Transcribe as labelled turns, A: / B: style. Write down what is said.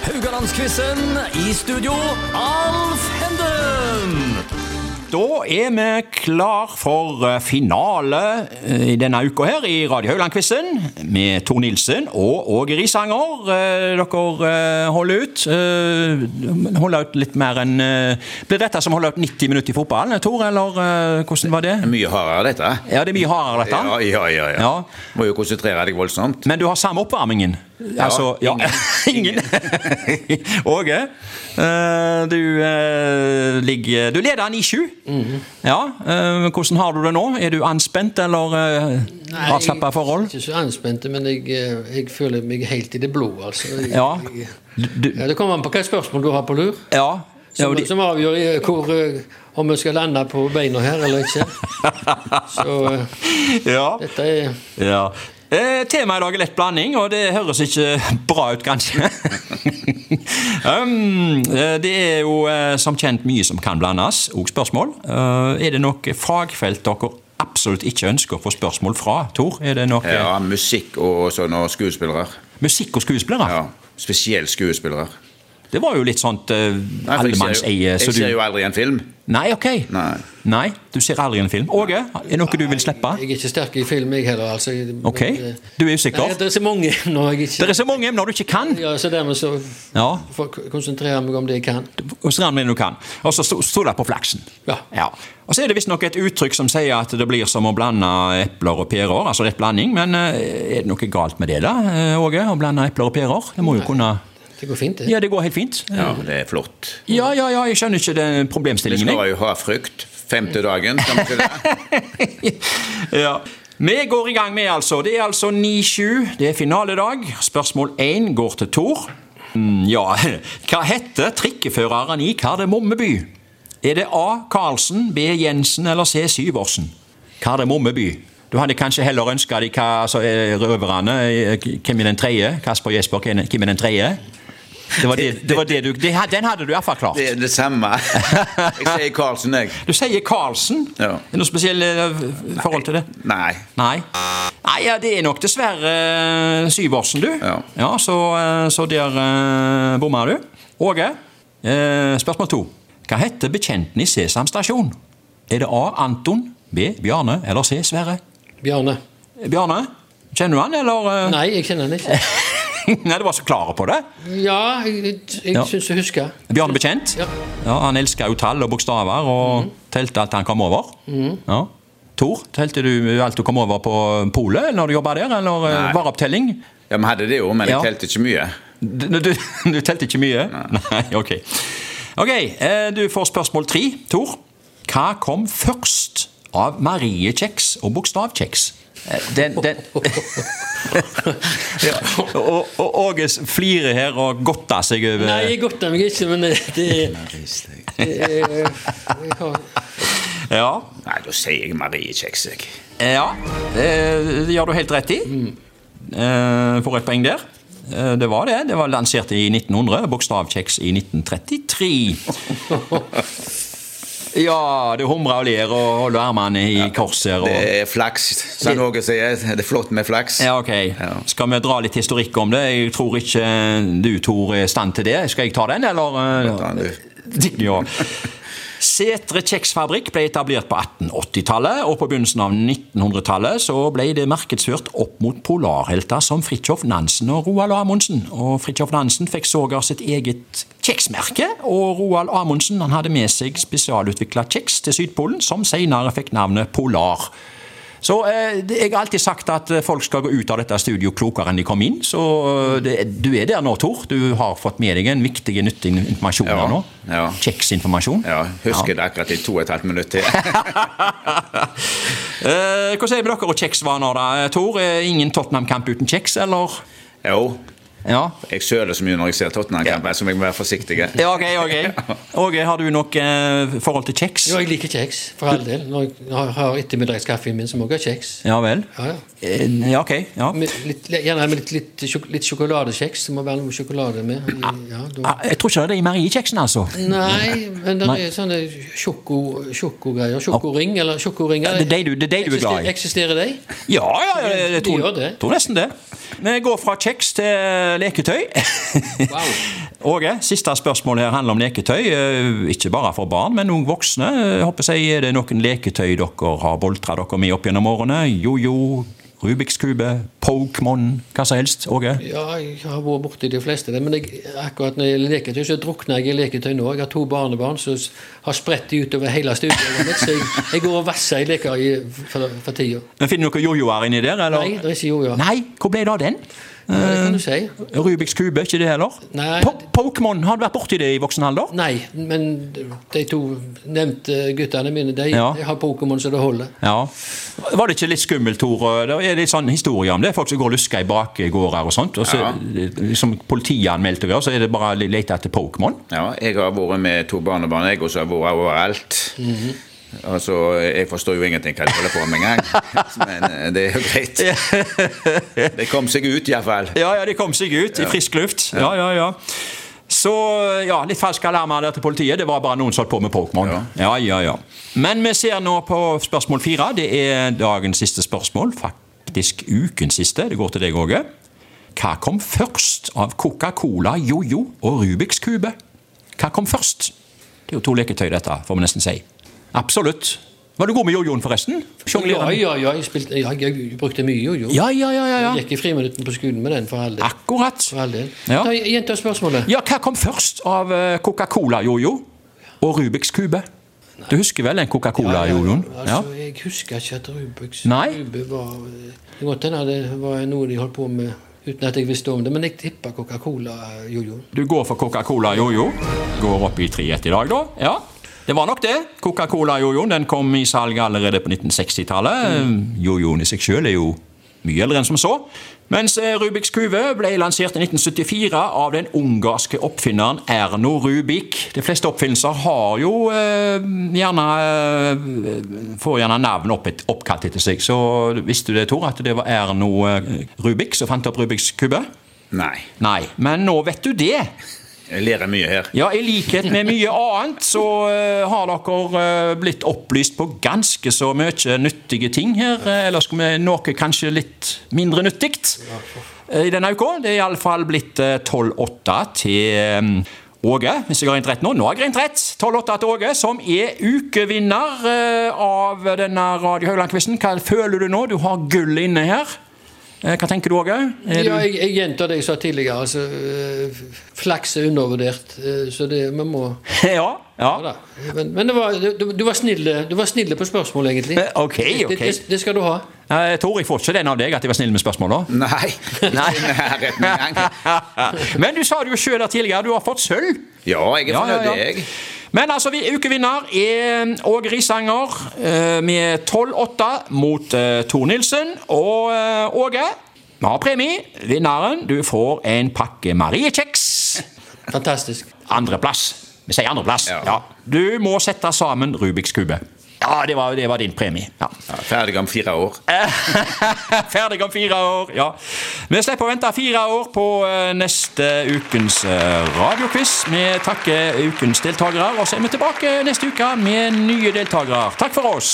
A: Rogalandsquizen. I studio, Alf Henden!
B: Da er vi klar for eh, finale eh, i denne uka her i Radio Høyland-quizen med Tor Nilsen og Åge Risanger. Eh, Dere eh, holder ut. Eh, Holder ut litt mer enn eh, Blir dette som å holde ut 90 minutter i fotballen, Tor, eller eh, hvordan var det?
C: Mye hardere, dette.
B: Ja, det er mye hardere, dette.
C: Mm. Ja, ja, ja, ja.
B: Ja.
C: Må jo konsentrere deg voldsomt.
B: Men du har samme oppvarmingen? altså, ja. Ingen. Åge, eh, du, eh, ligger, du leder 9-7. Ja, eh, hvordan har du det nå? Er du anspent eller eh, avslappa forhold?
D: Jeg er ikke så anspent, men jeg, eh, jeg føler meg helt i det blå, altså. Jeg,
B: Ja.
D: jeg,
B: Du, du,
D: ja. Det kommer an på hvilket spørsmål du har på lur,
B: ja. ja
D: som,
B: og de,
D: som avgjør eh, hvor, eh, om vi skal lande på beina her eller ikke. Så eh,
B: ja.
D: dette er
B: ja. Eh, Temaet i dag er lett blanding, og det høres ikke bra ut, kanskje. um, eh, det er jo eh, som kjent mye som kan blandes, og spørsmål. Eh, er det noe fagfelt dere absolutt ikke ønsker å få spørsmål fra, Tor? Er det noe
C: Ja, musikk og sånn, og skuespillere.
B: musikk og skuespillere?
C: Ja, Spesielt skuespillere.
B: Det var jo litt sånt uh,
C: Nei, for jeg ser jo-
B: allemannseie. så
C: Jeg ser
B: du-
C: jo aldri en film.
B: Nei, ok.
C: Nei.
B: Nei, du ser aldri en film. Åge, er det noe du vil slippe?
D: Jeg er ikke sterk i film, jeg heller. Altså, Men,
B: Ok,
D: eh,
B: du er usikker.
D: Nei, det er så mange emner jeg
B: Det
D: ikke
B: er så mange emner du ikke kan!
D: ja, Så dermed så
B: Ja,
D: får jeg konsentrere meg om det jeg kan.
B: Og så ramler du kan. Og så sto- sto det på flaksen.
D: Ja.
B: Og så er det visstnok et uttrykk som sier at det blir som å blande epler og pærer. Altså rett blanding, men eh, er det noe galt med det, da, eh, Åge? Å blande epler og pærer? Det må jo kunne
D: Det går fint, det.
B: Ja, det går helt fint.
C: Ja, det er flott.
B: Ja, ja, ja, jeg skjønner ikke den
C: Vi
B: problemstillingen,
C: skal
B: jeg.
C: jo ha frukt femte dagen. Kan vi ikke det?
B: Ja. Vi går i gang med, altså. Det er altså 9-7. Det er finaledag. Spørsmål 1 går til Tor. Mm, Ja, hva heter trikkeføreren i Kardemommeby? Er det A. Karlsen, B. Jensen eller C. Syversen? Kardemommeby. Du hadde kanskje heller ønska deg hva altså, eh, røverne eh, Hvem er den tredje? Kasper Jesper, hvem er- hvem er den tredje? Det var det, det, var det du det, had- Den hadde du iallfall klart.
C: Det er det samme. Jeg sier Karlsen, jeg.
B: Du sier Karlsen.
C: Ja.
B: Er det noe spesielt eh, forhold til det?
C: Nei.
B: Nei. Nei, ja, Det er nok dessverre eh, Syversen, du.
C: Ja.
B: så, eh, så der eh, bomma du. Åge, eh, spørsmål to. Hva heter bekjenten i Sesam stasjon? Er det A. Anton, B. Bjarne eller C. Sverre?
D: Bjarne.
B: Eh, Bjarne? Kjenner du han, eller? eh?
D: Nei, jeg kjenner den ikke.
B: Nei, du var så klar på det.
D: Ja, jeg, jeg
B: Ja.
D: syns jeg husker.
B: Bjarne Bekjent?
D: Ja.
B: Ja, han elska jo tall og bokstaver, og telte alt han kom over. Ja. Tor, telte du alt du kom over på polet når du jobba der, eller eh,
C: Nei.
B: vareopptelling?
C: Ja, Vi hadde det jo, men jeg
B: Ja.
C: telte ikke mye.
B: Du, du, du telte ikke mye? Nei, ok. Ok, eh, Du får spørsmål tre, Tor. Hva kom først av Mariekjeks og bokstavkjeks? Eh, Den, den ja. Og og Åge flirer her og godter seg over
D: Nei, jeg godter meg ikke, men det, det, det er jeg har,
B: Ja,
C: Nei, da sier jeg Marie Kjeks, jeg.
B: ja. eh, det gjør du helt rett i.
C: Mm.
B: Eh, Får et poeng der. Eh, Det var det. Det var lansert i 1900. Bokstavkjeks i 1933. Ja, du humrer og ler og holder armene i kors her. Og...
C: Det er flaks, som Åge sier. Det er flott med flaks.
B: Ja, ok. Skal vi dra litt historikk om det? Jeg tror ikke eh, du, Tor, er i stand til det. Skal jeg ta den, eller? eh,
C: Ta den, du.
B: Ja. Setre kjeksfabrikk ble etablert på 1880-tallet, og på begynnelsen av 1900-tallet så ble det markedsført opp mot polarhelter som Fridtjof Nansen og Roald Amundsen. Og Fridtjof Nansen fikk sågar sitt eget kjeksmerke, og Roald Amundsen han hadde med seg spesialutvikla kjeks til Sydpolen, som senere fikk navnet Polar. Så eh, det- Jeg har alltid sagt at eh, folk skal gå ut av dette studio klokere enn de kom inn. Så eh, det, du er der nå, Tor. Du har fått med deg en viktig, nyttig informasjon
C: Ja,
B: her nå.
C: ja.
B: Kjeksinformasjon.
C: Ja, Husker det akkurat i to og et halvt minutt til.
B: Eh, hvordan er det med dere og kjeksvaner, da? Eh, Tor, er ingen Tottenham-kamp uten kjeks, eller?
C: Jo,
B: Ja.
C: jeg søler så mye når jeg ser Tottenham-kampen, så jeg må være forsiktig.
B: Ja, ok, ok. Åge, har du nok eh, forhold til kjeks?
D: jo, jeg liker kjeks, for all del. Når jeg har- har ettermiddagskaffen min, så må jeg ha kjeks.
B: Ja vel.
D: Ja, ja.
B: Eh, Ja, ok. Ja.
D: Med litt, gjerne med litt, litt, sjok- litt sjokoladekjeks. Det må være noe sjokolade med. i- Ja, da.
B: Ah, Jeg tror ikke det er det i Mariekjeksen, altså.
D: Nei, men det
B: Nei.
D: er sånne sjoko- sjokogreier. Sjokoring eller sjokoringer.
B: Det er de du- det er de du er glad i.
D: Eksisterer de?
B: Ja, ja, ja, jeg
D: Det
B: tror,
D: gjør det.
B: tror nesten det. Vi går fra kjeks til leketøy.
D: Wow.
B: Åge, siste spørsmål her handler om leketøy. eh, Ikke bare for barn, men òg voksne. Jeg håper jeg er det noen leketøy dere har boltra dere med opp gjennom årene? Jojo, Rubiks kube, Pokémon, hva som helst? Åge?
D: Ja, jeg har vært borti de fleste, av dem, men jeg, akkurat når det gjelder leketøy, så drukner jeg i leketøy nå. Jeg har to barnebarn som s- har spredt de utover hele studioet mitt, så jeg, jeg går og vasser i leker i, for, for tida.
B: Men Finner dere jojoer inni der, eller?
D: Nei, det er ikke jo, ja.
B: Nei, hvor ble det av den?
D: Ja, Det kan du si.
B: Rubiks kube, ikke det heller?
D: Nei.
B: Po Pokémon, har du vært borti det i voksen alder?
D: Nei, men de to nevnte guttene mine, de,
B: Ja.
D: de har Pokémon så det holder.
B: Ja. Var det ikke litt skummelt, Tore? Det er litt sånn historie om det. Folk som går og lusker i bakgårder og sånt. Og så,
C: Ja.
B: Som politianmeldte og greier, så er det bare å lete etter Pokémon.
C: Ja, jeg har vært med to barnebarn, jeg også har vært overalt.
B: Mhm.
C: Altså, jeg forstår jo ingenting hva de holder på med engang, men eh, det er jo greit. Det kom seg ut iallfall.
B: Ja, ja, de kom seg ut i frisk luft. Ja, ja, ja. Så ja, litt falske alarmer der til politiet. Det var bare noen som holdt på med Pokémon. Ja.
C: Ja.
B: Ja, ja, Men vi ser nå på spørsmål fire. Det er dagens siste spørsmål. Faktisk ukens siste. Det går til deg, Åge. Hva kom først av Coca-Cola, Jojo og Rubiks kube? Hva kom først? Det er jo to leketøy, dette, får vi nesten si. Absolutt. Var du god med jojoen, forresten?
D: Ja,
B: Sjonglerer den?
D: ja, ja, jeg, spilte, ja, jeg brukte mye jo, jo.
B: Ja, ja, ja, ja,
D: Jeg
B: ja.
D: gikk i friminutten på skolen med den, for all del.
B: Akkurat.
D: For all del.
B: Ja.
D: Ta- Gjenta spørsmålet.
B: Ja, hva kom først av eh, Coca-Cola-jojo og Rubiks kube? Du husker vel den Coca-Cola-jojoen? Ja.
D: Altså, Jeg husker ikke at Rubiks
B: Nei.
D: kube var Det kan godt hende det var noe de holdt på med uten at jeg visste om det, men jeg tipper eh, Coca-Cola-jojoen.
B: Du går for Coca-Cola-jojo. Går opp i 3-1 i dag, da. Ja. Det var nok det. Coca-Cola-jojoen den kom i salg allerede på 1960-tallet. Jojoen i seg sjøl er jo mye eldre enn som så. Mens eh, Rubiks kube ble lansert i 1974 av den ungarske oppfinneren Erno Rubik. De fleste oppfinnelser har jo eh, gjerne eh, Får gjerne navn opp et, oppkalt etter seg. Så visste du det, Tor, at det var Erno eh, Rubik som fant opp Rubiks kube?
C: Nei.
B: Nei. Men nå vet du det.
C: Jeg lærer mye her.
B: Ja, I likhet med mye annet så eh, har dere eh, blitt opplyst på ganske så mye nyttige ting her. eh, Eller skal vi noe kanskje litt mindre nyttig eh, i denne uka? Det er iallfall blitt eh, 12-8 til eh, Åge, hvis jeg har rent rett nå. Nå har jeg rent rett! 12-8 til Åge, som er ukevinner eh, av denne Radio Haugland-quizen. Hva føler du nå? Du har gull inne her. Eh, Hva tenker du, Åge? Er
D: Ja,
B: du-
D: jeg, jeg gjentar det jeg sa tidligere. altså øh, f- Flaks er undervurdert, øh, så det vi må
B: Ja, ja.
D: ja da. Men, men det var, du, du var snille du var snille på spørsmålet, egentlig.
B: Eh, ok, ok.
D: Det, det, det skal du ha.
B: Eh, Tor, jeg får ikke den av deg at jeg var snill med spørsmåla.
C: Nei. Nei. Nærheten engang.
B: Men du sa det jo sjøl der tidligere, du har fått sølv.
C: Ja, jeg er
B: Ja, ja,
C: fornøyd,
B: ja.
C: jeg.
B: Men altså, vi ukevinner er Åge Risanger eh, med 12-8 mot eh, Tor Nilsen. Og eh, Åge, vi har premie. Vinneren, du får en pakke Mariekjeks.
D: Fantastisk.
B: Andreplass. Vi sier andreplass. Ja.
C: Ja.
B: Du må sette sammen Rubiks kube. Ja, det var, det var din premie. Ja.
C: Ja, ferdig om fire år.
B: Ferdig om fire år, ja. Vi slipper å vente fire år på eh, neste ukens eh, radioquiz. Vi takker ukens deltakere, og så er vi tilbake neste uke med nye deltakere. Takk for oss.